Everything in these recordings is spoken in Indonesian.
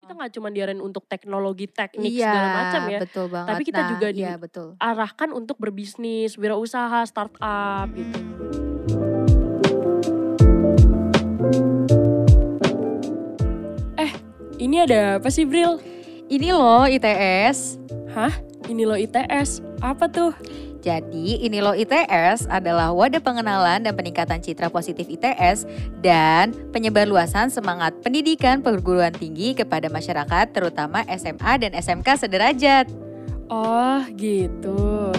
kita nggak cuma diarahin untuk teknologi teknik iya, segala macam ya. betul banget. Tapi kita Nah, juga di- iya, betul. Arahkan untuk berbisnis, wirausaha, startup gitu. Ini ada apa sih Bril? Ini loh ITS. Hah? Ini loh ITS. Apa tuh? Jadi, ini loh ITS adalah wadah pengenalan dan peningkatan citra positif ITS dan penyebarluasan semangat pendidikan perguruan tinggi kepada masyarakat terutama SMA dan SMK sederajat. Oh gitu.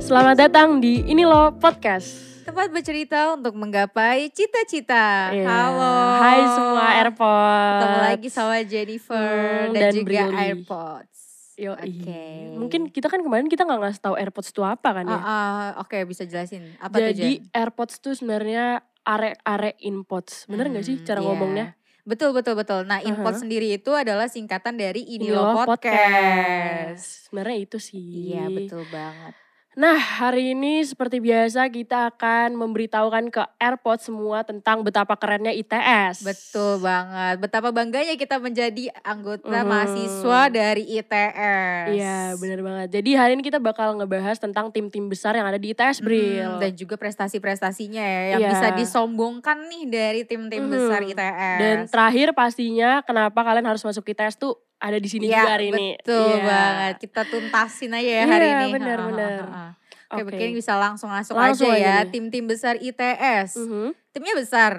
Selamat datang di Ini Loh Podcast. Tempat bercerita untuk menggapai cita-cita. Iya. Ya, Halo. Hai semua AirPods. Ketemu lagi sama Jennifer Hmm, dan, dan juga Brilly. AirPods. Yo, Oke. Mungkin kita kan kemarin kita nggak ngasih tahu AirPods itu apa kan ya. Ah, ah, Oke, bisa jelasin apa tuh, Jen? Jadi AirPods tuh sebenarnya are-are inpods. Bener nggak sih Hmm, cara iya. ngomongnya? Betul betul betul. Nah, import Aha. sendiri itu adalah singkatan dari Ini ini loh Loh podcast. Sebenarnya itu sih. Iya, betul banget. Nah, hari ini seperti biasa kita akan memberitahukan ke AirPods semua tentang betapa kerennya ITS. Betul banget. Betapa bangganya kita menjadi anggota Mhm. mahasiswa dari ITS. Iya, benar banget. Jadi hari ini kita bakal ngebahas tentang tim-tim besar yang ada di ITS, Bril. Hmm, dan juga prestasi-prestasinya ya yang Iya. bisa disombongkan nih dari tim-tim besar Mhm. ITS. Dan terakhir pastinya kenapa kalian harus masuk ITS tuh ada di sini Iya, juga hari ini. betul Iya. banget. Kita tuntasin aja ya hari Iya, ini. benar, benar. Oke. Oke, mungkin bisa langsung masuk Langsung aja aja ya nih. tim-tim besar ITS. Mhm. Timnya besar.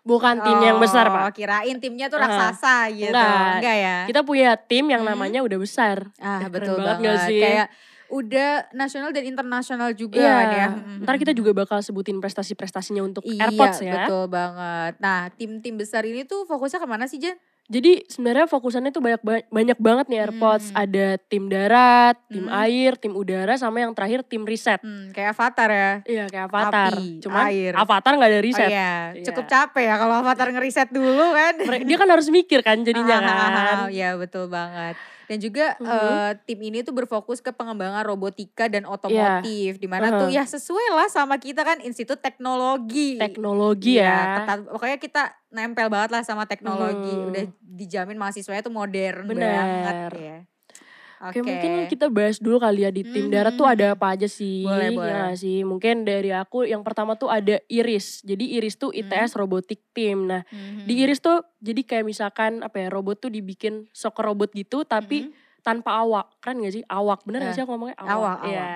Bukan Kan tim yang besar, Oh, Pak. Kirain timnya tuh Ah, raksasa gitu. enggak. Enggak ya? Kita punya tim yang Mhm. namanya udah besar. eh, ah, keren betul banget banget. nggak sih? Kayak udah nasional dan internasional juga Iya. kan ya. Ntar kita juga bakal sebutin prestasi-prestasinya untuk Iya, AirPods ya. betul banget. Nah, tim-tim besar ini tuh fokusnya kemana sih, Jen? Jadi sebenarnya fokusannya tuh banyak ba- banyak banget nih AirPods. Hmm. Ada tim darat, tim Hmm. air, tim udara, sama yang terakhir tim riset. Hmm, kayak avatar ya. Iya kayak avatar. Api, Cuman air. avatar nggak ada riset. Oh iya, Iya. cukup capek ya kalau avatar ngeriset dulu kan. Mere- Dia kan harus mikir kan jadinya kan. Ah, Iya, betul banget. Dan juga Mhm. eh, tim ini tuh berfokus ke pengembangan robotika dan otomotif. Di mana tuh Iya. Uh-huh. ya sesuai lah sama kita kan Institut Teknologi. Teknologi ya. Iya, ketat- pokoknya kita nempel banget lah sama teknologi. Mhm. Udah dijamin mahasiswanya tuh modern Bener. banget ya. Oke mungkin kita bahas dulu kali ya di tim darat tuh Mhm. ada apa aja sih. Boleh, ya boleh. nggak sih. Mungkin dari aku yang pertama tuh ada Iris. Jadi Iris tuh ITS Hmm. robotik tim. Nah Mhm. di Iris tuh jadi kayak misalkan apa ya robot tuh dibikin sok robot gitu tapi Mhm. tanpa awak. Keren gak sih? Awak. Bener Eh, gak sih aku ngomongnya? awak, Awak. Iya.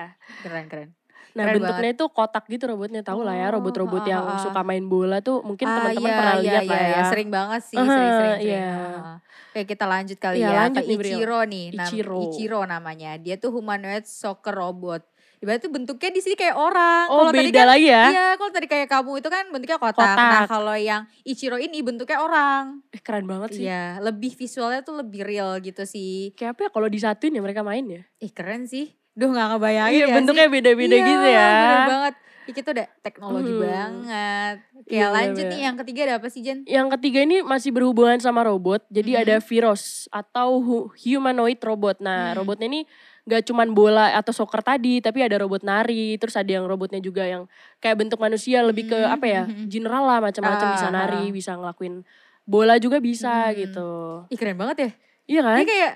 keren keren. Nah Keren bentuknya itu kotak gitu robotnya. Tahu lah ya Oh, robot-robot ah, yang ah, ah. suka main bola tuh mungkin Ah, teman-teman iya, pernah iya, lihat lah iya, ya. iya. Sering banget sih, Aha, sering sering. sering. iya. Ah. Oke kita lanjut kali Iya, ya lanjut ke nih, Bril. Ichiro nih. Nam- Ichiro. Ichiro namanya. Dia tuh humanoid soccer robot. Ibaratnya bentuknya di sini kayak orang. Oh Kalau tadi beda kan- lagi ya. Iya, kalau tadi kayak kamu itu kan bentuknya kotak. Nah, Kotak. kalau yang Ichiro ini bentuknya orang. Eh, keren banget sih. Iya, lebih visualnya tuh lebih real gitu sih. Kayak apa ya kalau disatuin ya mereka main ya. Ih, keren sih. Duh, gak ngebayangin Iya ya bentuknya sih. beda-beda Iya, gitu ya. bener banget. Ih, Kita udah teknologi Hmm. banget. Oke, Iya, lanjut bener. nih yang ketiga ada apa sih, Jen? Yang ketiga ini masih berhubungan sama robot. Jadi Mhm. ada virus atau hu- humanoid robot. Nah Hmm. robotnya ini gak cuman bola atau soccer tadi. Tapi ada robot nari. Terus ada yang robotnya juga yang kayak bentuk manusia. Lebih ke Hmm, apa ya mhm. general lah macam-macam. Bisa Ah, nari, ah. bisa ngelakuin bola juga bisa Hmm. gitu. Ih, keren banget ya. Iya kan? Dia kayak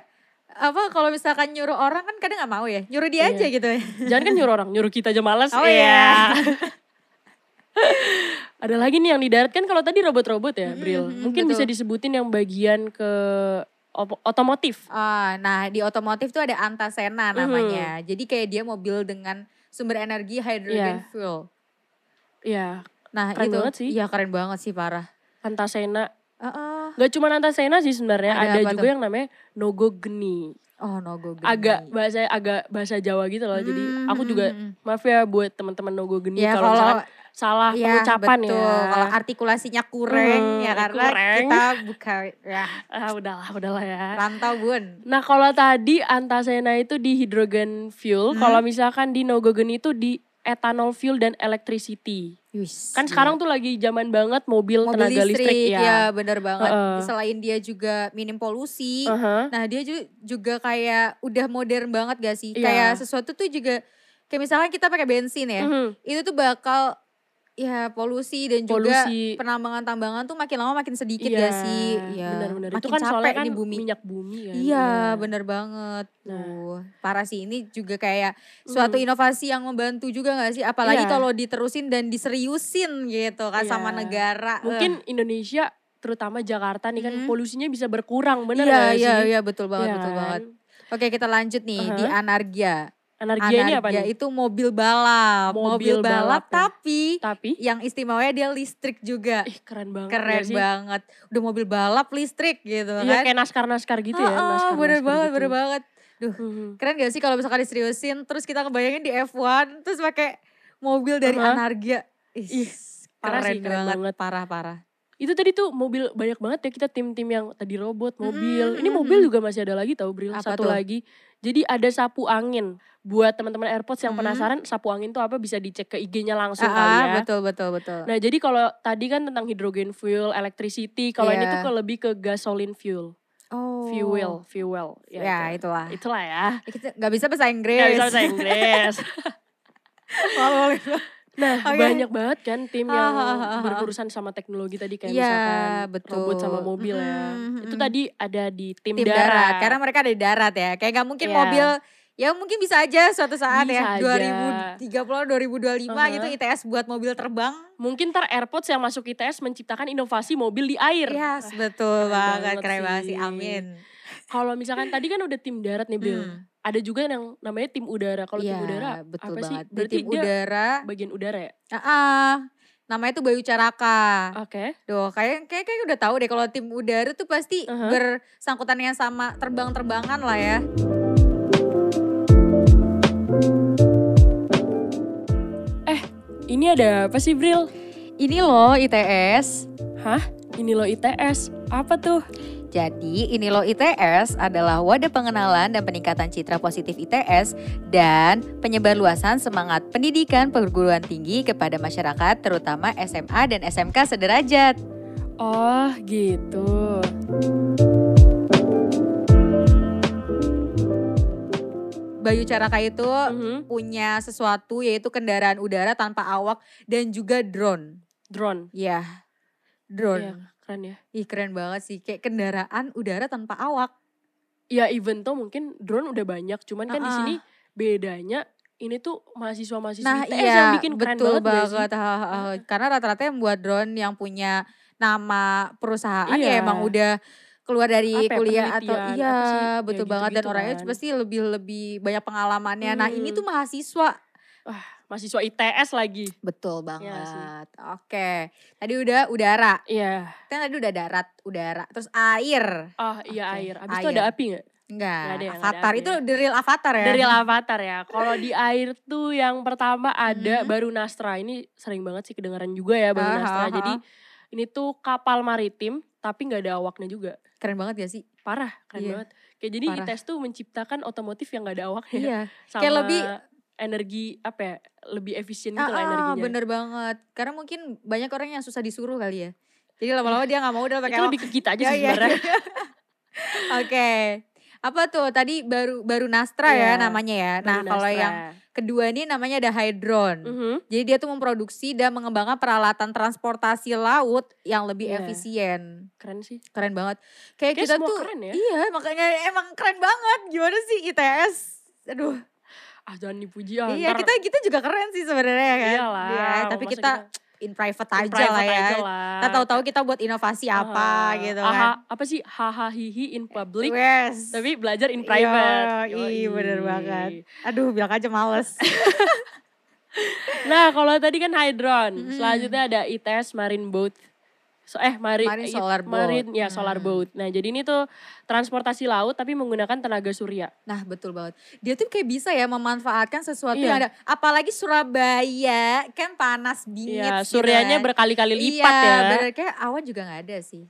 apa kalau misalkan nyuruh orang kan kadang nggak mau ya nyuruh dia Iya. aja gitu ya Jangan kan nyuruh orang, nyuruh kita aja males. Oh Iya. Ada lagi nih yang di darat kan kalau tadi robot-robot ya, Mm-mm, Bril. mm-mm, Mungkin bisa Hmm, betul. disebutin yang bagian ke op- otomotif. Ah, nah di otomotif tuh ada antasena Mhm. namanya jadi kayak dia mobil dengan sumber energi hydrogen fuel Iya, nah Keren itu banget sih. iya keren banget sih parah Antasena. Heeh. Gak cuma Antasena sih sebenarnya, Ada ada, apa juga tuh? yang namanya Nogo Geni. oh no go Geni. Agak bahasa agak bahasa Jawa gitu loh. Jadi Hmm, aku hmm, juga hmm. maaf ya buat teman-teman Nogo Geni ya kalau kalau misalkan salah ya, pengucapan betul. ya. kalau artikulasinya kurang Hmm, ya karena kurang. kita buka ya, Ah, udahlah, udahlah ya. rantau bun Nah kalau tadi antasena itu di hydrogen fuel, Hmm. kalau misalkan di nogogen itu di ethanol fuel dan electricity. Wis, Kan gila. sekarang tuh lagi zaman banget mobil, Iya. mobil tenaga listrik, listrik, ya. ya. bener banget. Heeh. Selain dia juga minim polusi, Aha. nah dia ju- juga kayak udah modern banget gak sih? Iya. Kayak sesuatu tuh juga kayak misalnya kita pakai bensin ya, Mhm. itu tuh bakal ya polusi dan juga Polusi. penambangan tambangan tuh makin lama makin sedikit Iya, gak sih? Iya. benar-benar. Makin Itu kan capek soalnya kan di bumi. minyak bumi kan. Iya, bener banget. Nah. Mhm. Tuh, parah sih ini juga kayak suatu inovasi yang membantu juga gak sih? Apalagi Iya. kalau diterusin dan diseriusin gitu kan sama Iya. negara. Mungkin Indonesia terutama Jakarta nih kan Mhm. polusinya bisa berkurang Eh, bener iya, gak sih? iya, iya, betul banget, Iya betul kan? banget. Oke, kita lanjut nih di Uh-huh. Anargia. Anargia, ini apa nih? itu mobil balap, Mobil mobil, balap, balap ya. tapi Tapi yang istimewanya dia listrik juga. ih keren banget iya. Keren gak sih? banget. Udah mobil balap listrik gitu Iya kan. kayak naskar-naskar gitu ya. Oh, oh, naskar-naskar bener banget, gitu. bener banget. Mhm. Keren gak sih kalau misalkan diseriusin terus kita kebayangin di F1 terus pakai mobil dari Aha. Anargia. Ih, Uh-huh. Ih, keren, parah sih, keren banget, banget. parah-parah. Itu tadi tuh mobil banyak banget ya kita tim-tim yang tadi robot, mobil. Mhm, Ini mhm, mobil mhm. juga masih ada lagi tau Bril, Apa satu tuh? lagi. Jadi ada sapu angin. Buat teman-teman AirPods yang Mhm. penasaran sapu angin tuh apa bisa dicek ke IG-nya langsung Ah, kali ah, ya. betul betul betul. Nah, jadi kalau tadi kan tentang hydrogen fuel, electricity, kalau ini tuh Iya. ke lebih ke gasoline fuel, oh. fuel, fuel. Ya, Ya, itu. itulah. Itulah ya. Eh, Kita nggak bisa bahasa Inggris. Nggak bisa bahasa Inggris. nah, Oke. banyak banget kan tim yang Ah, ah, ah, ah. berurusan sama teknologi tadi kayak Iya, misalkan robot betul. sama mobil ya. Mm, Itu mm. tadi ada di tim, Tim darat. Karena mereka ada di darat ya. Kayak nggak mungkin Iya. mobil ya mungkin bisa aja suatu saat Bisa aja. ya 2030 2025 Uh-huh. gitu ITS buat mobil terbang. Mungkin ter AirPods yang masuk ITS menciptakan inovasi mobil di air. Yes, Iya, betul keren banget, banget keren banget sih. sih. Amin. Kalau misalkan tadi kan udah tim darat nih, Bill. Hmm. Ada juga yang namanya tim udara. Kalau Iya, tim udara betul apa sih? banget. Di Berarti tim dia- udara bagian udara ya? Ah, ah. namanya tuh Bayu Caraka. Oke. Duh, kayak kayak kayak udah tahu deh kalau tim udara tuh pasti Uh-huh. bersangkutannya sama terbang-terbangan lah ya. Ini ada apa sih, Bril? Ini loh ITS. Hah? Ini loh ITS. Apa tuh? Jadi, ini loh ITS adalah wadah pengenalan dan peningkatan citra positif ITS dan penyebarluasan semangat pendidikan perguruan tinggi kepada masyarakat terutama SMA dan SMK sederajat. Oh, gitu. Bayu Caraka itu Mhm. punya sesuatu yaitu kendaraan udara tanpa awak dan juga drone. Drone. Iya, Ya, drone. keren ya. Ih keren banget sih, kayak kendaraan udara tanpa awak. Ya, even tuh mungkin drone udah banyak, cuman kan di Ah, ah. sini bedanya ini tuh mahasiswa-mahasiswa Nah ITS iya, yang bikin keren betul banget. gak sih? banget. ha, ha, ha. Karena rata-rata yang buat drone yang punya nama perusahaan ya Iya. emang udah keluar dari Apa ya, kuliah atau penelitian, iya apa sih, ya betul banget dan gitu-gitu orangnya kan. pasti lebih lebih banyak pengalamannya. Nah ini Hmm. tuh mahasiswa. Mahasiswa ITS lagi. Betul Iya sih. banget. Oke, tadi udah udara, Iya. kan tadi udah darat, udara, terus air. Oh, iya Oke, air. Abis itu ada air. api gak? Nggak Enggak, ada ya, nggak ada avatar. api Itu ya. the real avatar ya. Dari avatar ya. Kalau di air tuh yang pertama ada Mhm. baru Nastra. Ini sering banget sih kedengaran juga ya baru Ah, Nastra. ah, ah. Jadi ini tuh kapal maritim tapi nggak ada awaknya juga. Keren banget gak sih? Parah, keren Iya, banget. Kayak jadi parah. ITS tuh menciptakan otomotif yang nggak ada awaknya. Iya. Sama Kayak lebih- energi apa ya? Lebih efisien Ah, gitu lah ah, energinya. bener banget. Karena mungkin banyak orang yang susah disuruh kali ya. Jadi lama-lama dia nggak mau udah pakai Iya. Itu awak. lebih ke kita aja Iya, sih iya. sebenarnya. Oke. Apa tuh tadi baru baru Nastra ya Iya, namanya ya. Baru Nah kalau Nastra. yang kedua ini namanya ada Hydron. Mhm. Jadi dia tuh memproduksi dan mengembangkan peralatan transportasi laut yang lebih Iya. efisien. keren sih. Keren banget. Kayak Kayak kita semua tuh keren ya. iya makanya emang keren banget. Gimana sih ITS? Aduh. Ah jangan dipuji ah. Iya ntar- kita kita juga keren sih sebenarnya ya kan. Iyalah, Iya, tapi masa kita in private aja private lah ya. aja lah. Kita tahu-tahu kita buat inovasi apa Ah, gitu aha, kan. apa sih hahaha hihi in public Yes. tapi belajar in private. Iya, iya, Yoi. bener banget. Aduh bilang aja males. Nah, kalau tadi kan hydron, Mm-mm. selanjutnya ada ITS Marine Boat. So, eh mari, Marine i- Solar Boat. Marine, ya solar Hmm. boat. Nah, jadi ini tuh transportasi laut tapi menggunakan tenaga surya. nah betul banget. Dia tuh kayak bisa ya memanfaatkan sesuatu Iya. yang ada. Apalagi Surabaya kan panas bingit. Iya, gitu suryanya kan. berkali-kali lipat iya, ya. bener. Kayak awan juga gak ada sih.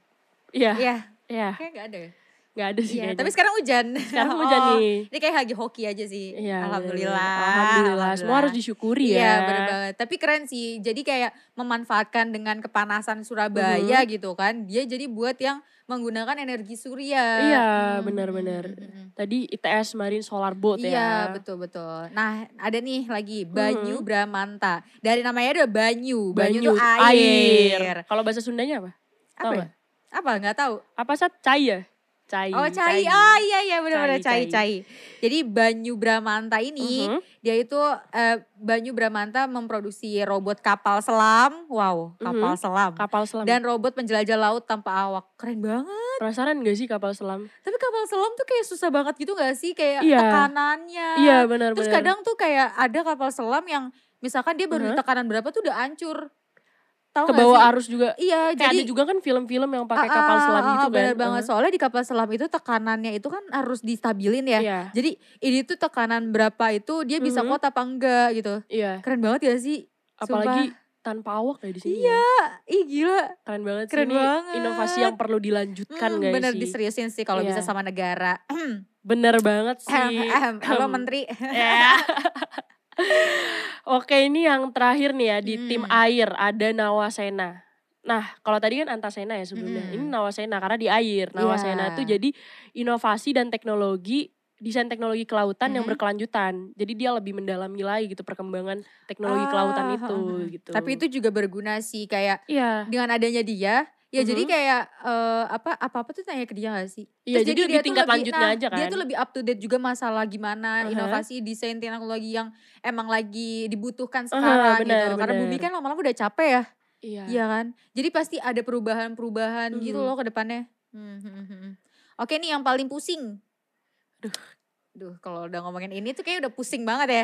Iya, Iya, iya. kayak gak ada ya. Gak ada sih Iya, kayaknya. tapi sekarang hujan. sekarang hujan Oh, nih. Ini kayak lagi hoki aja sih. Iya, bener-bener. Alhamdulillah. Alhamdulillah. Semua harus disyukuri ya. Iya bener banget. Tapi keren sih. Jadi kayak memanfaatkan dengan kepanasan Surabaya gitu kan. Dia jadi buat yang menggunakan energi surya. Iya, Hmm, benar-benar. hmm, hmm, hmm. Tadi ITS Marine Solar Boat ya. Iya betul betul. Nah ada nih lagi Banyu Bramanta. Dari namanya udah Banyu. Banyu, itu air. Kalau bahasa Sundanya apa? Tahu Apa? ya? nggak? Apa nggak tahu? Apa sih? Cai ya? Cai. Oh cai, ah iya iya benar-benar Cai, cai, cai. cai Jadi Banyu Bramanta ini Mhm. dia itu eh, Banyu Bramanta memproduksi robot kapal selam, wow kapal selam, Kapal selam. dan robot penjelajah laut tanpa awak, keren banget. Penasaran gak sih kapal selam? Tapi kapal selam tuh kayak susah banget gitu gak sih kayak Iya. tekanannya. Iya benar-benar. Ah, Terus kadang tuh kayak ada kapal selam yang misalkan dia baru di tekanan berapa tuh udah hancur. Tahu Uh-huh. ke nggak bawah sih? arus juga. Iya, Kayak jadi ada juga kan film-film yang pakai kapal Ah, selam ah, gitu ah, kan. Bener banget, soalnya di kapal selam itu tekanannya itu kan harus distabilin ya. Iya, Jadi ini tuh tekanan berapa itu dia bisa Mhm. kuat apa enggak gitu. iya. Keren banget gak sih? Apalagi tanpa awak ya di sini. Iya. ya. Ih gila. Keren banget sih. Keren Ini banget. Inovasi yang perlu dilanjutkan Hmm, guys bener Kan sih. diseriusin sih kalau Iya. bisa sama negara. Bener banget Ahem, sih. ahem. Halo menteri. Ya. Oke ini yang terakhir nih ya di tim Hmm. air ada Nawasena. Nah kalau tadi kan Antasena ya sebelumnya, Hmm. ini Nawasena karena di air. Nawasena Iya. itu jadi inovasi dan teknologi desain teknologi kelautan yang Mhm. berkelanjutan. Jadi dia lebih mendalami lagi gitu perkembangan teknologi Ah, kelautan itu mhm. gitu. Tapi itu juga berguna sih kayak iya, dengan adanya dia Ya jadi Mhm. kayak eh, apa apa apa tuh tanya ke dia gak sih? iya Terus jadi, lebih dia tuh tingkat lanjutnya nah, aja kan. Dia tuh lebih up to date juga masalah gimana Aha. inovasi desain teknologi yang emang lagi dibutuhkan Aha, sekarang benar, gitu. Karena bumi benar. kan lama-lama udah capek ya. iya. Iya kan? Jadi pasti ada perubahan-perubahan gitu Mhm. loh ke depannya. Hmm, hmm, hmm. Oke nih yang paling pusing. Duh. Duh, kalau udah ngomongin ini tuh kayak udah pusing banget ya.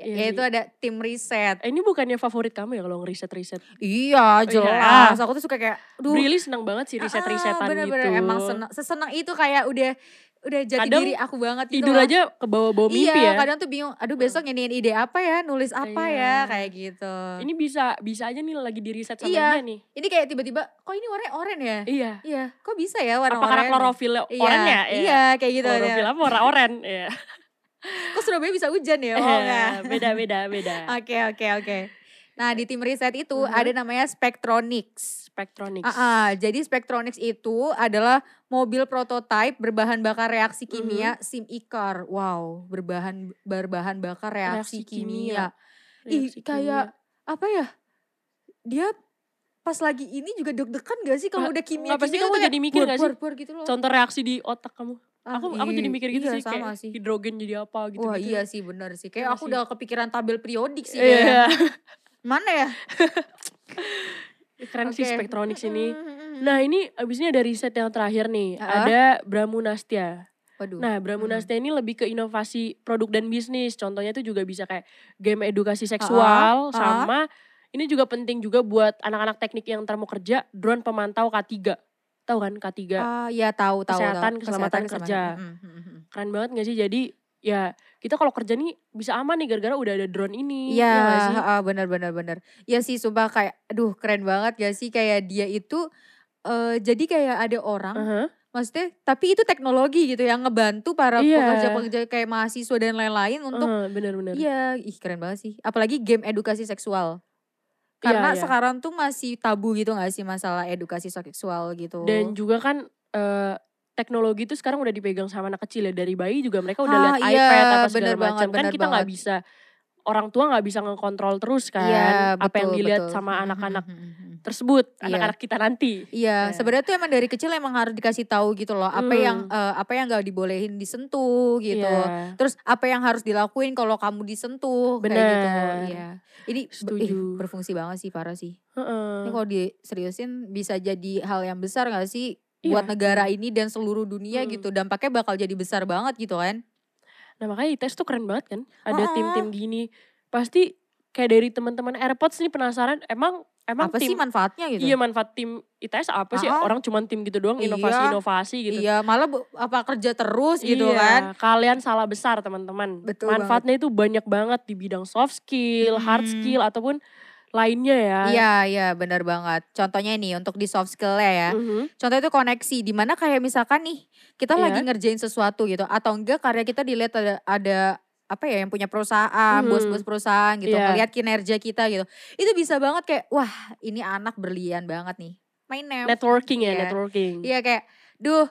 Ya- Iya Yaitu ada tim riset. Eh, Ini bukannya favorit kamu ya kalau ngeriset-riset? Oh, Iya, jelas. Aku tuh suka kayak duh. Really senang banget sih riset-risetan ah, bener-bener gitu. emang seneng, seseneng itu kayak udah udah jadi Kadang diri aku banget gitu. Tidur lah. aja ke bawah-bawah mimpi iya, ya. kadang tuh bingung, aduh besok ini ide apa ya, nulis apa Iya. ya, kayak gitu. Ini, ini bisa bisa aja nih lagi di riset sama dia Iya. nih. kayak tiba-tiba, kok ini warnanya oranye ya? Iya. Iya, kok bisa ya warna Apa karena oranye? klorofil Iya, oren ya? Iya, kayak gitu. ya. Klorofil apa warna oren? Iya. Kok Surabaya bisa hujan ya? Oh, enggak. beda beda beda. Oke, oke, oke. Nah, di tim riset itu Mhm. ada namanya Spectronics. Spectronics. Ah, ah, jadi Spectronics itu adalah mobil prototipe berbahan bakar reaksi Hmm. kimia SIM ICAR. Wow, berbahan berbahan bakar reaksi, Reaksi kimia. kimia. Ih, kayak apa ya? Dia pas lagi ini juga deg-degan gak sih kalau udah kimia? nggak, pasti kimia kamu tuh kayak jadi mikir buar, nggak sih? buar, buar gitu loh. contoh reaksi di otak kamu. Ah, Aku aku jadi i- mikir gitu iya, sih kayak sama sih. hidrogen jadi apa gitu. Wah iya sih benar sih. Kayak Iya aku sih. udah kepikiran tabel periodik sih. Iya. kayaknya. Mana ya? Keren sih iya. Oke. Kan Spectronics ini. Mm, mm, mm, mm. Nah ini abis ini ada riset yang terakhir nih. Ah. Ada Bramunastia. Waduh. Nah, Bramunastia ini lebih ke inovasi produk dan bisnis. Contohnya itu juga bisa kayak game edukasi seksual ah. sama ini juga penting juga buat anak-anak teknik yang ntar mau kerja, drone pemantau K3. Tahu kan K3? ah ya tahu tahu Kesehatan, tahu. keselamatan kerja. Mm, mm, mm, mm. Keren banget gak sih? Jadi ya kita kalau kerja nih bisa aman nih gara-gara udah ada drone ini. Iya, nggak sih? ah, benar benar benar. Ya sih sumpah kayak aduh keren banget gak sih kayak dia itu eh jadi kayak ada orang Aha. maksudnya tapi itu teknologi gitu yang ngebantu para Iya. Oh, pekerja-pekerja kayak mahasiswa dan lain-lain untuk Aha, bener-bener. iya, ih keren banget sih. Apalagi game edukasi seksual. Karena Iya, iya. sekarang tuh masih tabu gitu gak sih masalah edukasi seksual gitu. Dan juga kan eh, teknologi itu sekarang udah dipegang sama anak kecil ya dari bayi juga mereka udah Ah, lihat iya, iPad apa segala bener banget, macam kan bener kita nggak banget. bisa orang tua nggak bisa ngekontrol terus kan Iya, apa yang betul, dilihat betul. sama anak-anak Mhm, mhm, mhm. tersebut Iya. anak-anak kita nanti Iya, Ya. Hmm. sebenarnya tuh emang dari kecil emang harus dikasih tahu gitu loh, apa yang eh, apa yang gak dibolehin disentuh gitu. Iya, Terus apa yang harus dilakuin kalau kamu disentuh kayak gitu. Benar. Iya. Ini be- ih, Setuju. Hmm. berfungsi banget sih parah sih. heeh. Ini kalau diseriusin bisa jadi hal yang besar gak sih Iya. Hmm. buat negara ini dan seluruh dunia Mm-mm. gitu. Dampaknya bakal jadi besar banget gitu kan. nah makanya ITS tuh keren banget kan ada Heeh. tim-tim gini pasti kayak dari teman-teman AirPods nih penasaran emang emang apa sih tim manfaatnya gitu? iya manfaat tim ITS apa sih Heeh. orang cuman tim gitu doang Iya. inovasi-inovasi gitu Iya, malah bu- apa kerja terus gitu Iya, kan. Kalian salah besar teman-teman. Betul Manfaatnya itu banyak banget di bidang soft skill, hard Hmm. skill ataupun lainnya ya. Iya, iya benar banget. Contohnya nih untuk di soft skill ya. Mhm. Contoh itu koneksi, di mana kayak misalkan nih kita Iya. lagi ngerjain sesuatu gitu, atau enggak karya kita dilihat ada ada apa ya yang punya perusahaan, Mhm. bos-bos perusahaan gitu, Iya. ngelihat kinerja kita gitu, itu bisa banget kayak wah ini anak berlian banget nih, main name, Networking ya, Iya. networking. iya kayak, duh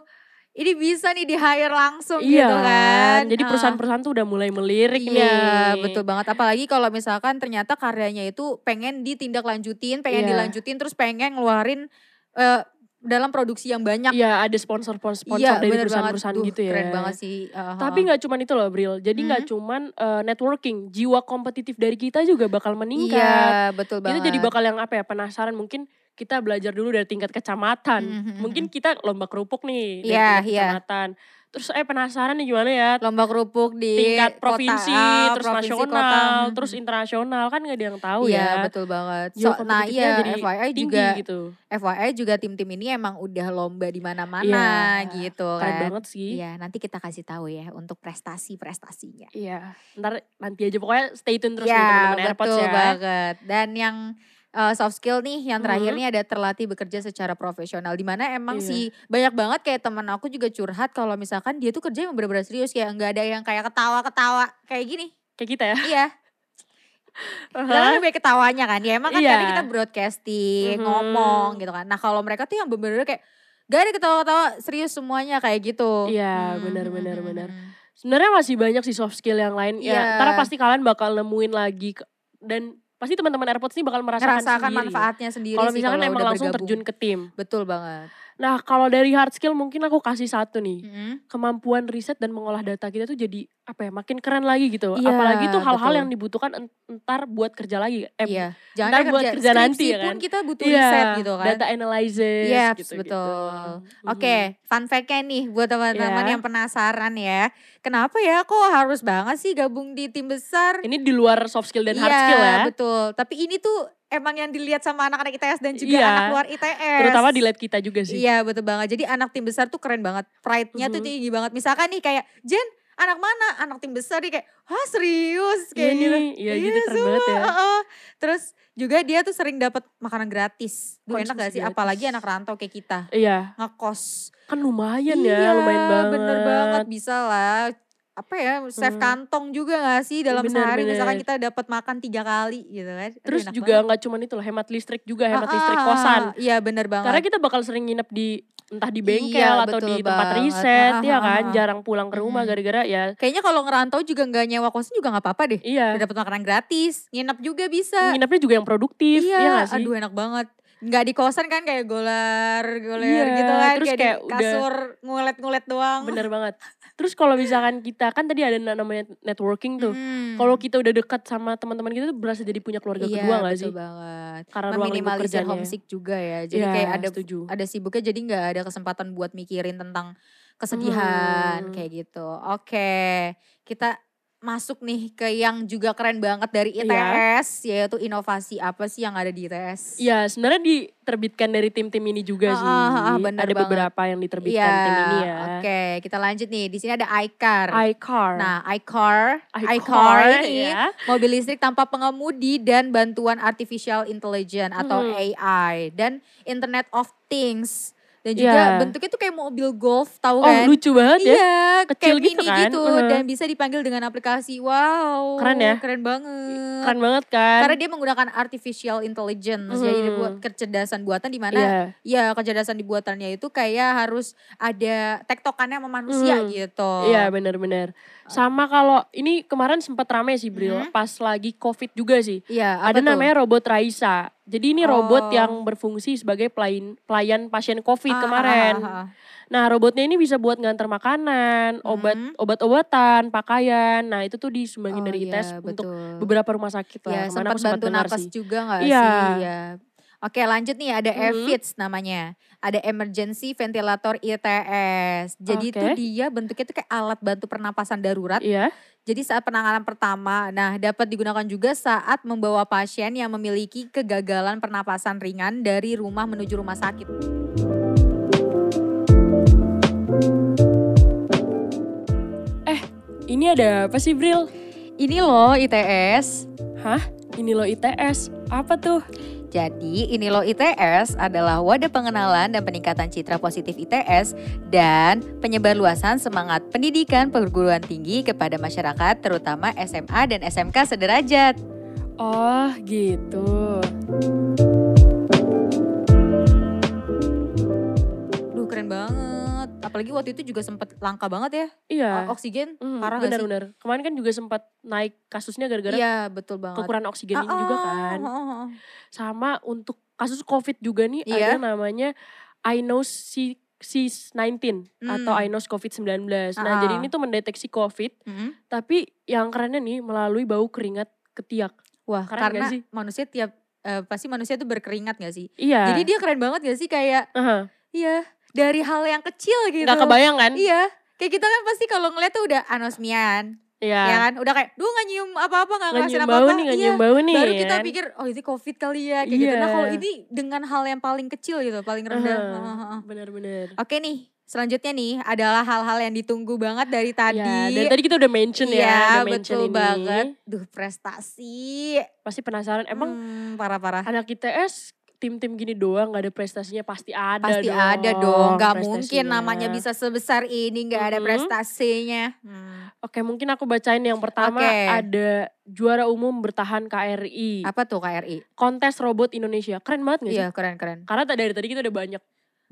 ini bisa nih di hire langsung Iya gitu kan, Jadi Ah. perusahaan-perusahaan tuh udah mulai melirik nih. Iya betul banget apalagi kalau misalkan ternyata karyanya itu pengen ditindaklanjutin, Iya. pengen dilanjutin terus pengen ngeluarin eh, dalam produksi yang banyak. Iya, ada sponsor-sponsor dari bener perusahaan-perusahaan Duh, gitu ya. Keren banget sih. Hmm. Ah, Tapi nggak cuman itu loh, Bril. Jadi nggak cuman eh, networking, jiwa kompetitif dari kita juga bakal iya meningkat. Kita betul banget. jadi bakal yang apa ya? Penasaran mungkin kita belajar dulu dari tingkat kecamatan. Mhm. Mungkin kita lomba kerupuk nih dari Iya, tingkat iya. kecamatan. Terus eh penasaran nih gimana ya? lomba kerupuk di Tingkat kota provinsi, A, terus provinsi, kota. nasional, Mhm. terus internasional kan nggak ada yang tahu Iya ya. betul banget. Jiwa So, nah kompetitifnya iya jadi FYI tinggi juga gitu. FYI juga tim-tim ini emang udah lomba di mana-mana Iya, gitu Keren kan. banget sih. Iya nanti kita kasih tahu ya untuk prestasi-prestasinya. Iya, ntar nanti aja pokoknya stay tune terus nih ya, teman-teman AirPods betul ya. banget. Dan yang uh, soft skill nih, Mhm. yang terakhir nih ada terlatih bekerja secara profesional. Dimana emang Iya. sih banyak banget kayak teman aku juga curhat kalau misalkan dia tuh kerja yang bener-bener serius kayak nggak ada yang kayak ketawa-ketawa kayak gini. Kayak kita ya. Iya, kita kan lebih ketawanya kan. Ya emang kan Iya. karena kita broadcasting, Mhm. ngomong gitu kan. Nah kalau mereka tuh yang bener-bener kayak gak ada ketawa-ketawa serius semuanya kayak gitu. Iya, Mhm, benar, mhm, benar, mhm, benar. mhm. Sebenarnya masih banyak sih soft skill yang lain. Iya. Ya, ntar pasti kalian bakal nemuin lagi ke- dan pasti teman-teman AirPods nih bakal merasakan, Ngerasakan sendiri. manfaatnya sendiri Kalau sih misalkan emang udah langsung bergabung. terjun ke tim. Betul banget. Nah, kalau dari hard skill mungkin aku kasih satu nih. Mhm. Kemampuan riset dan mengolah data kita tuh jadi apa ya? Makin keren lagi gitu. Iya, Apalagi tuh hal-hal betul. yang dibutuhkan en- entar buat kerja lagi. Eh, Iya, jangan ntar kan buat kerja, kerja nanti skripsi ya pun kan? kita butuh Iya, riset gitu kan. Data analysis Yaps, gitu-gitu. betul. Mhm. Oke, fun fact-nya nih buat teman-teman Iya. yang penasaran ya. Kenapa ya kok harus banget sih gabung di tim besar? Ini di luar soft skill dan hard Iya, skill ya. betul. Tapi ini tuh emang yang dilihat sama anak-anak ITS dan juga Iya. anak luar ITS. Terutama di lab kita juga sih. Iya, betul banget. Jadi anak tim besar tuh keren banget. Pride-nya tuh Mhm. tinggi banget. Misalkan nih kayak Jen, anak mana? Anak tim besar dia kayak, "Hah, serius?" Iya kayak gitu. nih, iya gitu Iya, keren banget ya. Heeh. Terus juga dia tuh sering dapat makanan gratis. Duh, enak Konsumsi gak sih? gratis. Apalagi anak rantau kayak kita Iya, ngekos. kan lumayan Iya, ya, lumayan banget. Bener banget bisa lah. Apa ya save Hmm. kantong juga gak sih dalam Bener, sehari misalkan bener. kita dapat makan tiga kali gitu kan. Aduh, Terus enak juga banget. nggak cuman itu loh, hemat listrik juga, hemat Ah, listrik ah, kosan. Iya bener banget. Karena kita bakal sering nginep di entah di Iya, bengkel atau betul di tempat banget. riset, Ah, ya ah, kan? ah. Jarang pulang ke rumah Mm. gara-gara ya, Kayaknya kalau ngerantau juga nggak nyewa kosan juga nggak apa-apa deh. iya. Udah dapat makanan gratis, nginep juga bisa. Nginepnya juga yang produktif, ya Iya, nggak sih? aduh enak banget. Nggak di kosan kan kayak golar, goler Iya, gitu kan. terus kayak, di kayak udah- kasur ngulet-ngulet doang. Bener banget. Terus kalau misalkan kita kan tadi ada namanya networking tuh. Mm. Kalau kita udah dekat sama teman-teman kita tuh berasa jadi punya keluarga iya, kedua nggak betul sih? banget. Karena ruang lingkup Meminimalisir kerjanya. homesick juga ya. Jadi Iya, kayak ada setuju. ada sibuknya jadi nggak ada kesempatan buat mikirin tentang kesedihan Hmm. kayak gitu. Oke, kita masuk nih ke yang juga keren banget dari Iya. ITS yaitu inovasi apa sih yang ada di ITS? Iya, sebenarnya diterbitkan dari tim-tim ini juga Ah, sih. ah, ah, bener ada banget. beberapa yang diterbitkan Iya, tim ini ya. Oke, kita lanjut nih. Di sini ada iCar. iCar. Nah, iCar, iCar, iCar ini ya. mobil listrik tanpa pengemudi dan bantuan artificial intelligence atau Mhm. AI dan Internet of Things. Dan juga Iya. bentuknya tuh kayak mobil golf, Oh, tahu kan? lucu banget ya. Iya, Kecil kayak gitu mini kan, gitu heeh. dan bisa dipanggil dengan aplikasi. Wow. Keren ya? Keren banget. Keren banget kan? Karena dia menggunakan artificial intelligence, jadi Mhm. dibuat kecerdasan buatan di mana Iya. ya kecerdasan dibuatannya itu kayak harus ada tektokannya sama manusia Hmm. gitu. Iya benar-benar. Sama kalau ini kemarin sempat rame sih Bril, Mhm. pas lagi Covid juga sih. Iya, apa ada tuh? namanya robot Raisa. Jadi ini robot Oh. yang berfungsi sebagai pelayan pelayan pasien Covid Ah, kemarin. ah, ah, ah. Nah, robotnya ini bisa buat nganter makanan, obat Mhm. obat-obatan, pakaian. Nah, itu tuh disumbangin Oh, dari iya, tes untuk betul. beberapa rumah sakit lah. ya, Kemana sempat aku bantu dengar napas sih. juga nggak Iya. sih? Iya. Mm-hmm. Oke lanjut nih ada Mhm. EVITS namanya. Ada Emergency Ventilator ITS. Jadi itu Oke. dia bentuknya itu kayak alat bantu pernapasan darurat. Iya. Jadi saat penanganan pertama, nah dapat digunakan juga saat membawa pasien yang memiliki kegagalan pernapasan ringan dari rumah menuju rumah sakit. Ini ada apa sih Bril? Ini loh ITS. Hah? Ini loh ITS. Apa tuh? Jadi, ini loh ITS adalah wadah pengenalan dan peningkatan citra positif ITS dan penyebarluasan semangat pendidikan perguruan tinggi kepada masyarakat terutama SMA dan SMK sederajat. Oh gitu. Duh, keren banget. Apalagi waktu itu juga sempat langka banget ya Iya. oksigen. Mm, parah gak sih? benar-benar. Kemarin kan juga sempat naik kasusnya gara-gara Iya, betul banget. kekurangan oksigen ini Ah, juga ah, kan. ah, ah, ah. Sama untuk kasus COVID juga nih Iya. ada namanya I know C 19 atau Hmm. I know COVID-19. Nah, Ah. jadi ini tuh mendeteksi COVID, Mm-mm. tapi yang kerennya nih melalui bau keringat ketiak. Wah, Keren karena gak sih? manusia tiap eh, pasti manusia tuh berkeringat gak sih? Iya. Jadi dia keren banget gak sih kayak Aha. iya dari hal yang kecil gitu. nggak kebayang kan? Iya. Kayak kita kan pasti kalau ngeliat tuh udah anosmian, Iya. ya kan? Udah kayak, duh gak nyium apa-apa, gak Nggak ngerasain nyium bau apa-apa. nih, nggak Iya. nyium bau nih. Baru ya kita kan? pikir, oh itu covid kali ya, kayak gitu. Nah Iya. kalau ini dengan hal yang paling kecil gitu, paling rendah. Aha. Heeh, heeh. Bener-bener. Oke nih, selanjutnya nih adalah hal-hal yang ditunggu banget dari tadi. Iya, dari tadi kita udah mention Iya, ya, udah mention betul ini. banget. Duh prestasi. Pasti penasaran, emang Hmm, parah-parah. anak ITS tim-tim gini doang nggak ada prestasinya pasti ada Pasti dong. ada dong, nggak mungkin prestasinya. namanya bisa sebesar ini nggak ada Mhm. prestasinya. Hmm. Oke, mungkin aku bacain yang pertama Oke. ada juara umum bertahan KRI. Apa tuh KRI? Kontes robot Indonesia. Keren banget gak sih? Iya keren keren. Karena tadi- dari tadi kita udah banyak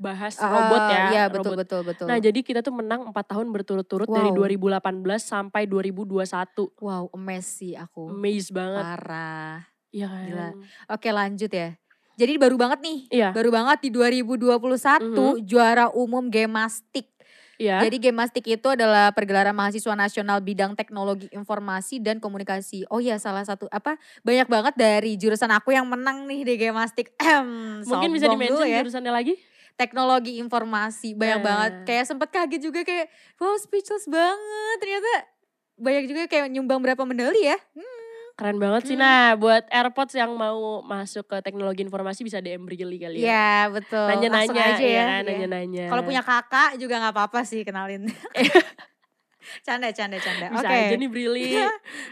bahas robot ya, Iya betul robot. betul betul. Nah, jadi kita tuh menang 4 tahun berturut-turut dari Wow. 2018 sampai 2021. wow amazed sih aku. Amazed banget. Parah. Iya kan? Gila. Oke lanjut ya. Jadi baru banget nih. Iya. Mhm. Baru banget di 2021 juara umum Gemastik. Iya. Jadi Gemastik itu adalah pergelaran mahasiswa nasional bidang teknologi informasi dan komunikasi. Oh iya salah satu apa banyak banget dari jurusan aku yang menang nih di Gemastik. Mungkin bisa Sombong dulu di-mention ya. jurusannya lagi? Teknologi informasi banyak Nah. banget. Kayak sempet kaget juga kayak wow speechless banget ternyata banyak juga kayak nyumbang berapa medali ya. Hmm. Keren banget sih. Hmm. Nah, buat AirPods yang mau masuk ke teknologi informasi bisa DM Brigili kali ya. Iya betul. Langsung Nanya-nanya aja ya. kan, Iya. nanya-nanya. Kalau punya kakak juga nggak apa-apa sih kenalin. canda canda canda. bisa Oke. aja nih Iya, Brili.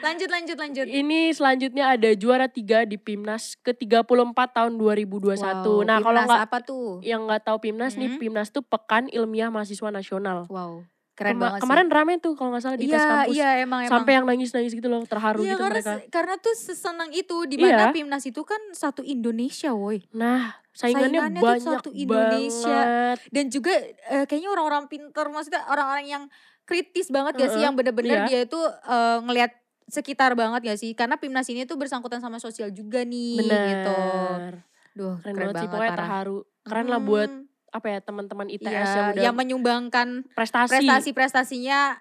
lanjut lanjut lanjut. Ini selanjutnya ada juara tiga di Pimnas ke-34 tahun 2021. Wow, nah, kalau Pimnas nggak apa tuh? yang nggak tahu Pimnas nih, Hmm. Pimnas tuh Pekan Ilmiah Mahasiswa Nasional. Wow, keren Kema- banget Kemarin rame tuh kalau nggak salah sih. di tes kampus. Iya, emang emang. Sampai yang nangis-nangis gitu loh, terharu Iya, gitu karena mereka. se- karena tuh sesenang itu di Iya. mana Pimnas itu kan satu Indonesia, woi. Nah, saingannya, Saingannya tuh banyak satu Indonesia. banget. Dan juga eh, kayaknya orang-orang pinter, maksudnya orang-orang yang kritis banget gak Heeh, sih yang iya. bener-bener dia itu eh, ngelihat sekitar banget gak sih? Karena Pimnas ini tuh bersangkutan sama sosial juga nih gitu. Benar. Duh, Keren, banget, sih pokoknya parah. terharu. Keren lah buat Hmm, apa ya teman-teman ITS iya, yang udah yang menyumbangkan prestasi. prestasi-prestasinya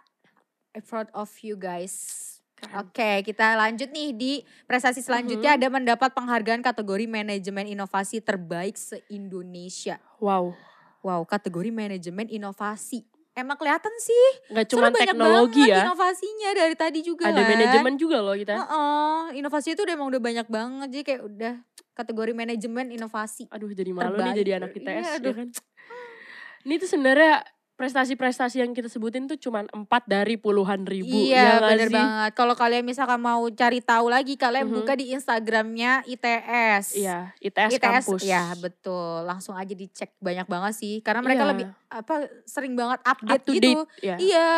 I'm proud of you guys. Oke, kita lanjut nih di prestasi selanjutnya Mm-hmm. ada mendapat penghargaan kategori manajemen inovasi terbaik se-Indonesia. Wow, Wow, kategori manajemen inovasi. Emang kelihatan sih, nggak cuma soalnya banyak teknologi banget ya, inovasinya dari tadi juga ada kan. manajemen ya? juga loh kita. Heeh, inovasi itu udah emang udah banyak banget jadi kayak udah kategori manajemen inovasi. Aduh jadi malu nih Terbaik. jadi anak ITS Iya, ya aduh. kan. Ini tuh sebenarnya prestasi-prestasi yang kita sebutin tuh cuman empat dari puluhan ribu. iya ya nggak bener sih? banget. Kalau kalian misalkan mau cari tahu lagi kalian Mhm. buka di Instagramnya ITS. Iya, ITS, kampus. Ya betul, langsung aja dicek banyak banget sih karena mereka Iya. lebih apa sering banget Up update to gitu. date. Ya. Iya.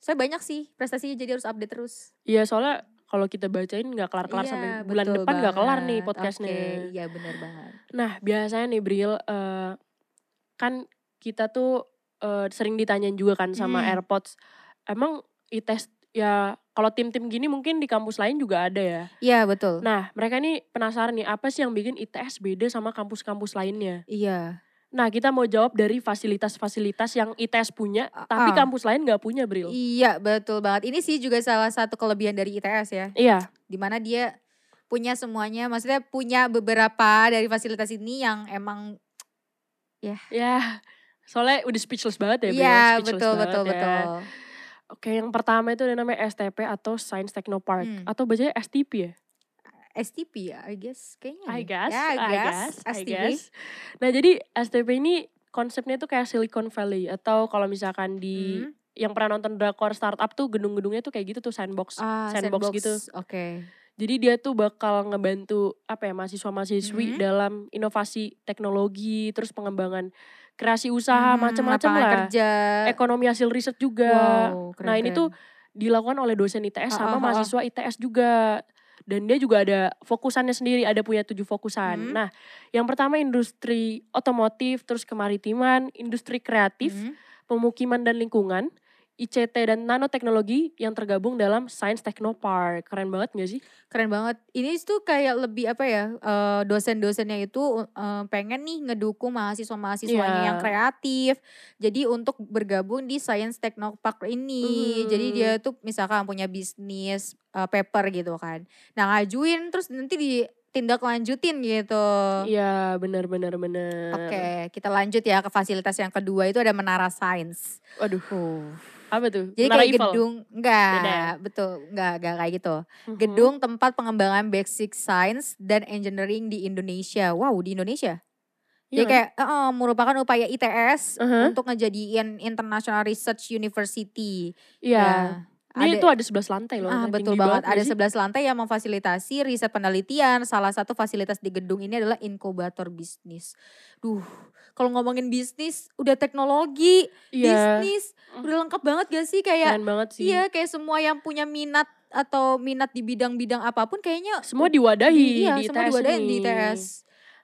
Saya banyak sih prestasinya jadi harus update terus. Iya soalnya kalau kita bacain nggak kelar-kelar Iya, sampai bulan betul depan nggak kelar nih banget. podcastnya. Oke, iya benar banget. Nah biasanya nih Bril, eh, kan kita tuh eh, sering ditanyain juga kan sama Hmm. AirPods. Emang ITS ya kalau tim-tim gini mungkin di kampus lain juga ada ya. Iya betul. Nah mereka nih penasaran nih apa sih yang bikin ITS beda sama kampus-kampus lainnya. Iya. Nah kita mau jawab dari fasilitas-fasilitas yang ITS punya tapi Ah. kampus lain nggak punya Bril. Iya betul banget. Ini sih juga salah satu kelebihan dari ITS ya. Iya dimana dia punya semuanya, maksudnya punya beberapa dari fasilitas ini yang emang ya soalnya udah speechless banget ya Bril. iya speechless betul banget betul ya. betul. Oke, yang pertama itu ada namanya STP atau Science Technopark Hmm. atau bacanya STP ya? STP ya, I guess kayaknya. I deh. guess, Ya, I guess, I STP. guess. Nah, jadi STP ini konsepnya tuh kayak Silicon Valley atau kalau misalkan di Hmm. yang pernah nonton drakor startup tuh gedung-gedungnya tuh kayak gitu tuh sandbox. Ah, sandbox gitu. Oke. Jadi dia tuh bakal ngebantu apa ya mahasiswa-mahasiswi Mhm. dalam inovasi teknologi, terus pengembangan kreasi usaha Hmm, macam-macam lapangan lah. kerja. Ekonomi hasil riset juga Wow, Nah, ini keren-keren. tuh dilakukan oleh dosen ITS Ah, ah, sama ah, ah. mahasiswa ITS juga. Dan dia juga ada fokusannya sendiri, ada punya tujuh fokusan. Hmm. Nah, yang pertama industri otomotif, terus kemaritiman, industri kreatif, Hmm. pemukiman dan lingkungan, ICT dan nanoteknologi yang tergabung dalam Science Technopark. Keren banget gak sih? Keren banget. Ini tuh kayak lebih apa ya? eh, dosen-dosennya itu eh, pengen nih ngedukung mahasiswa-mahasiswanya Iya. yang kreatif. Jadi untuk bergabung di Science Techno Park ini. Jadi Mhm. dia tuh misalkan punya bisnis eh, paper gitu kan. Nah, ngajuin terus nanti ditindaklanjutin gitu. Iya, benar-benar benar. Oke, kita lanjut ya ke fasilitas yang kedua itu ada Menara Sains. Waduh, apa tuh? Jadi Menara kayak Eiffel? gedung enggak, Beda ya? betul, enggak enggak kayak gitu. Mhm. Gedung tempat pengembangan basic science dan engineering di Indonesia. Wow, di Indonesia. Iya Jadi kan? Uh-huh. kayak eh, merupakan upaya ITS Aha. untuk ngejadiin International Research University. Iya. Nah, Ini ada- itu ada 11 lantai loh. Nah, Ah, betul tinggi banget. nggak Ada sih? 11 lantai yang memfasilitasi riset penelitian. Salah satu fasilitas di gedung ini adalah inkubator bisnis. Duh, kalau ngomongin bisnis, udah teknologi, Iya, bisnis, udah lengkap banget gak sih kayak keren banget sih. iya kayak semua yang punya minat atau minat di bidang-bidang apapun kayaknya Semua diwadahi di- iya, di semua ITS diwadahin di nih. ITS.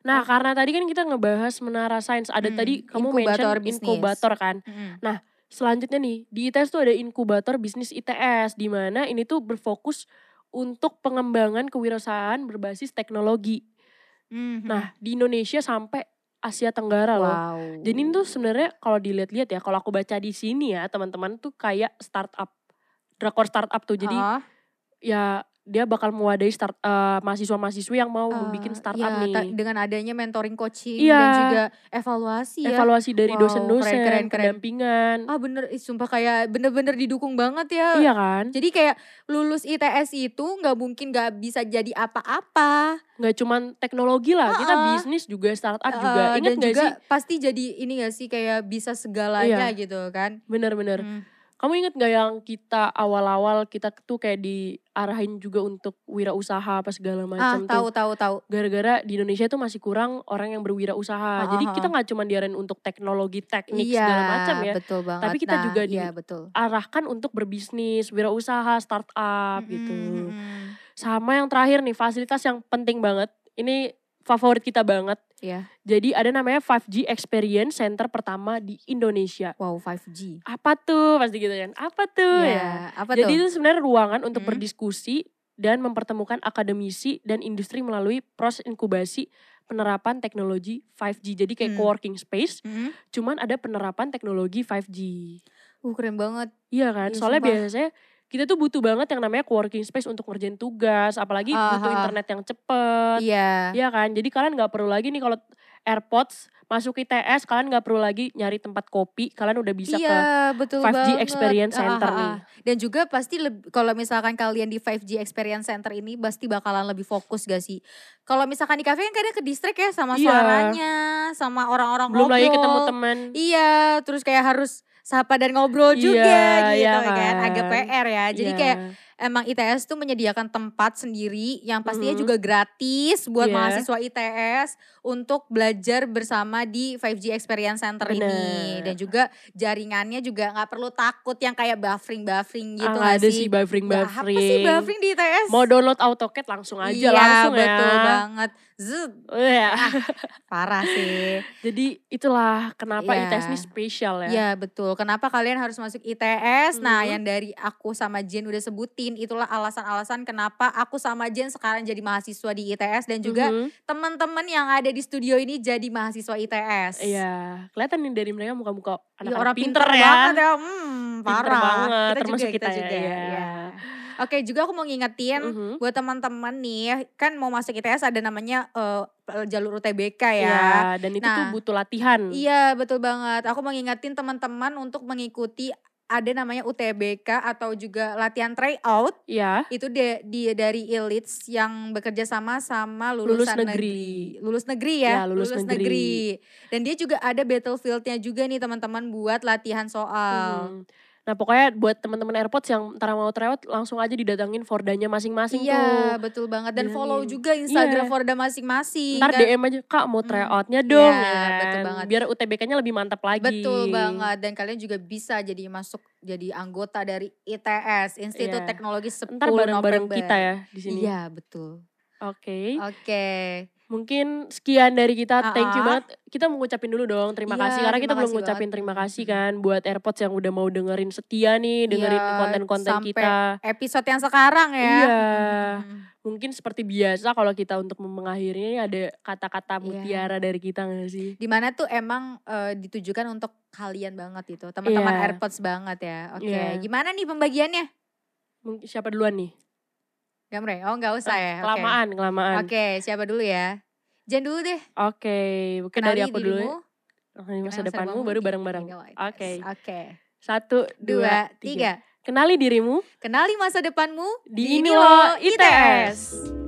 Nah, karena tadi kan kita ngebahas menara sains. Ada Hmm, tadi kamu inkubator mention bisnis. inkubator kan. Mm-mm. Selanjutnya nih, di ITS tuh ada inkubator bisnis ITS di mana ini tuh berfokus untuk pengembangan kewirausahaan berbasis teknologi. Mhm. Nah, di Indonesia sampai Asia Tenggara loh. wow. Jadi ini tuh sebenarnya kalau dilihat-lihat ya, kalau aku baca di sini ya, teman-teman tuh kayak startup drakor startup tuh. Jadi Ah, ya dia bakal mewadahi start eh, mahasiswa-mahasiswi yang mau ah, bikin startup iya, ta- nih. dengan adanya mentoring coaching dan Iya. juga evaluasi ya. Evaluasi dari Wow, dosen-dosen, keren, keren, keren. pendampingan. Ah bener, ih, sumpah kayak bener-bener didukung banget ya. Iya kan? Jadi kayak lulus ITS itu nggak mungkin nggak bisa jadi apa-apa. Nggak cuman teknologi lah, kita Heeh. bisnis juga, startup juga. Eh, Ingat dan nggak juga sih? Iya. pasti jadi ini gak sih kayak bisa segalanya gitu kan. Bener-bener. Hmm. Kamu ingat nggak yang kita awal-awal kita tuh kayak diarahin juga untuk wirausaha apa segala Ah macam tahu tuh. tahu tahu. Gara-gara di Indonesia tuh masih kurang orang yang berwirausaha. Ah, Jadi ah, kita ah. nggak cuman diarahin untuk teknologi, teknik Iya segala macam ya. betul banget. Tapi kita Nah, juga di- iya betul. arahkan untuk berbisnis, wirausaha, startup gitu. Mm, mm, mm. Sama yang terakhir nih, fasilitas yang penting banget. Ini favorit kita banget. Iya. Jadi ada namanya 5G Experience Center pertama di Indonesia. Wow 5G. Apa tuh? Pasti gitu kan. Apa tuh ya? Iya, apa Jadi tuh? itu sebenarnya ruangan untuk Hmm. berdiskusi dan mempertemukan akademisi dan industri melalui proses inkubasi penerapan teknologi 5G. Jadi kayak Hmm. co-working space, Mm. cuman ada penerapan teknologi 5G. Uh keren banget. Iya kan? Iya, Soalnya sumpah. biasanya kita tuh butuh banget yang namanya co-working space untuk ngerjain tugas, apalagi butuh Aha. internet yang cepet. Iya. Iya kan? Jadi kalian nggak perlu lagi nih kalau AirPods masuk ITS, kalian nggak perlu lagi nyari tempat kopi, kalian udah bisa Iya, betul ke 5G banget. Experience Ah, ah, Center ah. nih. Dan juga pasti leb- kalau misalkan kalian di 5G Experience Center ini pasti bakalan lebih fokus gak sih? Kalau misalkan di kafe kan kadang ke distrik ya sama Iya. suaranya, sama orang-orang Belum lagi ketemu ngobrol. teman. Iya, terus kayak harus sapa dan ngobrol Iya, juga gitu iya kan. Agak kan. PR ya. Jadi Iya. kayak emang ITS tuh menyediakan tempat sendiri yang pastinya Mhm. juga gratis buat Iya. mahasiswa ITS untuk belajar bersama di 5G Experience Center Bener. ini dan juga jaringannya juga nggak perlu takut yang kayak buffering-buffering gitu Ah, nggak ada sih buffering Nggak, apa sih buffering di ITS? Mau download AutoCAD langsung aja iya, langsung ya. betul banget. Zut, Ah, Iya. parah sih. Jadi itulah kenapa Iya. ITS ini spesial ya. Iya betul. Kenapa kalian harus masuk ITS? Nah, Mhm. yang dari aku sama Jen udah sebutin, itulah alasan-alasan kenapa aku sama Jen sekarang jadi mahasiswa di ITS dan juga Mhm. teman-teman yang ada di studio ini jadi mahasiswa ITS. Iya, kelihatan nih dari mereka muka-muka Iya, anak-anak orang pinter, pinter, ya. banget ya. Hmm, Pinter parah. banget, Kita termasuk juga, kita ya, juga. iya. iya. Kan Oke, juga aku mau ngingetin Mhm. buat teman-teman nih, kan mau masuk ITS ada namanya eh, jalur UTBK ya. Iya, dan itu tuh Nah, butuh latihan. Iya betul banget. Aku mengingatin teman-teman untuk mengikuti ada namanya UTBK atau juga latihan tryout Iya. itu de- di dari Elits yang bekerja sama sama Lulus negeri. lulusan negeri. lulus negeri ya, Ya, lulus negeri. dan dia juga ada battlefieldnya juga nih teman-teman buat latihan soal. Hmm. Nah pokoknya buat teman-teman AirPods yang ntar mau tryout langsung aja didatangin Fordanya masing-masing Iya, tuh. betul banget. Dan Bilangin. follow juga Instagram Iya. Forda masing-masing. Ntar kan? DM aja, Kak mau tryoutnya dong. Iya, ya kan? betul banget. Biar UTBK-nya lebih mantap lagi. Betul banget dan kalian juga bisa jadi masuk jadi anggota dari ITS Institut Iya. Teknologi 10 Ntar bareng-bareng November. kita ya di sini. Iya, betul. Oke. Oke. Mungkin sekian dari kita. Thank you Ah-ah. banget. Kita mau ngucapin dulu dong terima Iya, kasih karena kita terima belum kasih ngucapin banget. terima kasih kan buat AirPods yang udah mau dengerin setia nih, dengerin Iya, konten-konten sampai- kita. Episode yang sekarang ya. Iya. Hmm. Mungkin seperti biasa kalau kita untuk mengakhiri ada kata-kata Iya. mutiara dari kita gak sih? Dimana tuh emang eh, ditujukan untuk kalian banget itu, teman-teman Iya. AirPods banget ya. Oke, Iya. gimana nih pembagiannya? Gamre? Mungkin siapa duluan nih? Oh, nggak usah ya. Oke. Kelamaan, kelamaan. Oke, siapa dulu ya? Jan dulu deh. Oke, mungkin dari kenali aku dulu. ya. dirimu, Kenali masa kenali depanmu depanmu, baru di- bareng-bareng. di awal. Oke. Yes, Oke. Satu, Dua, dua, tiga. tiga. Kenali dirimu Kenali masa depanmu di Inilo ITS.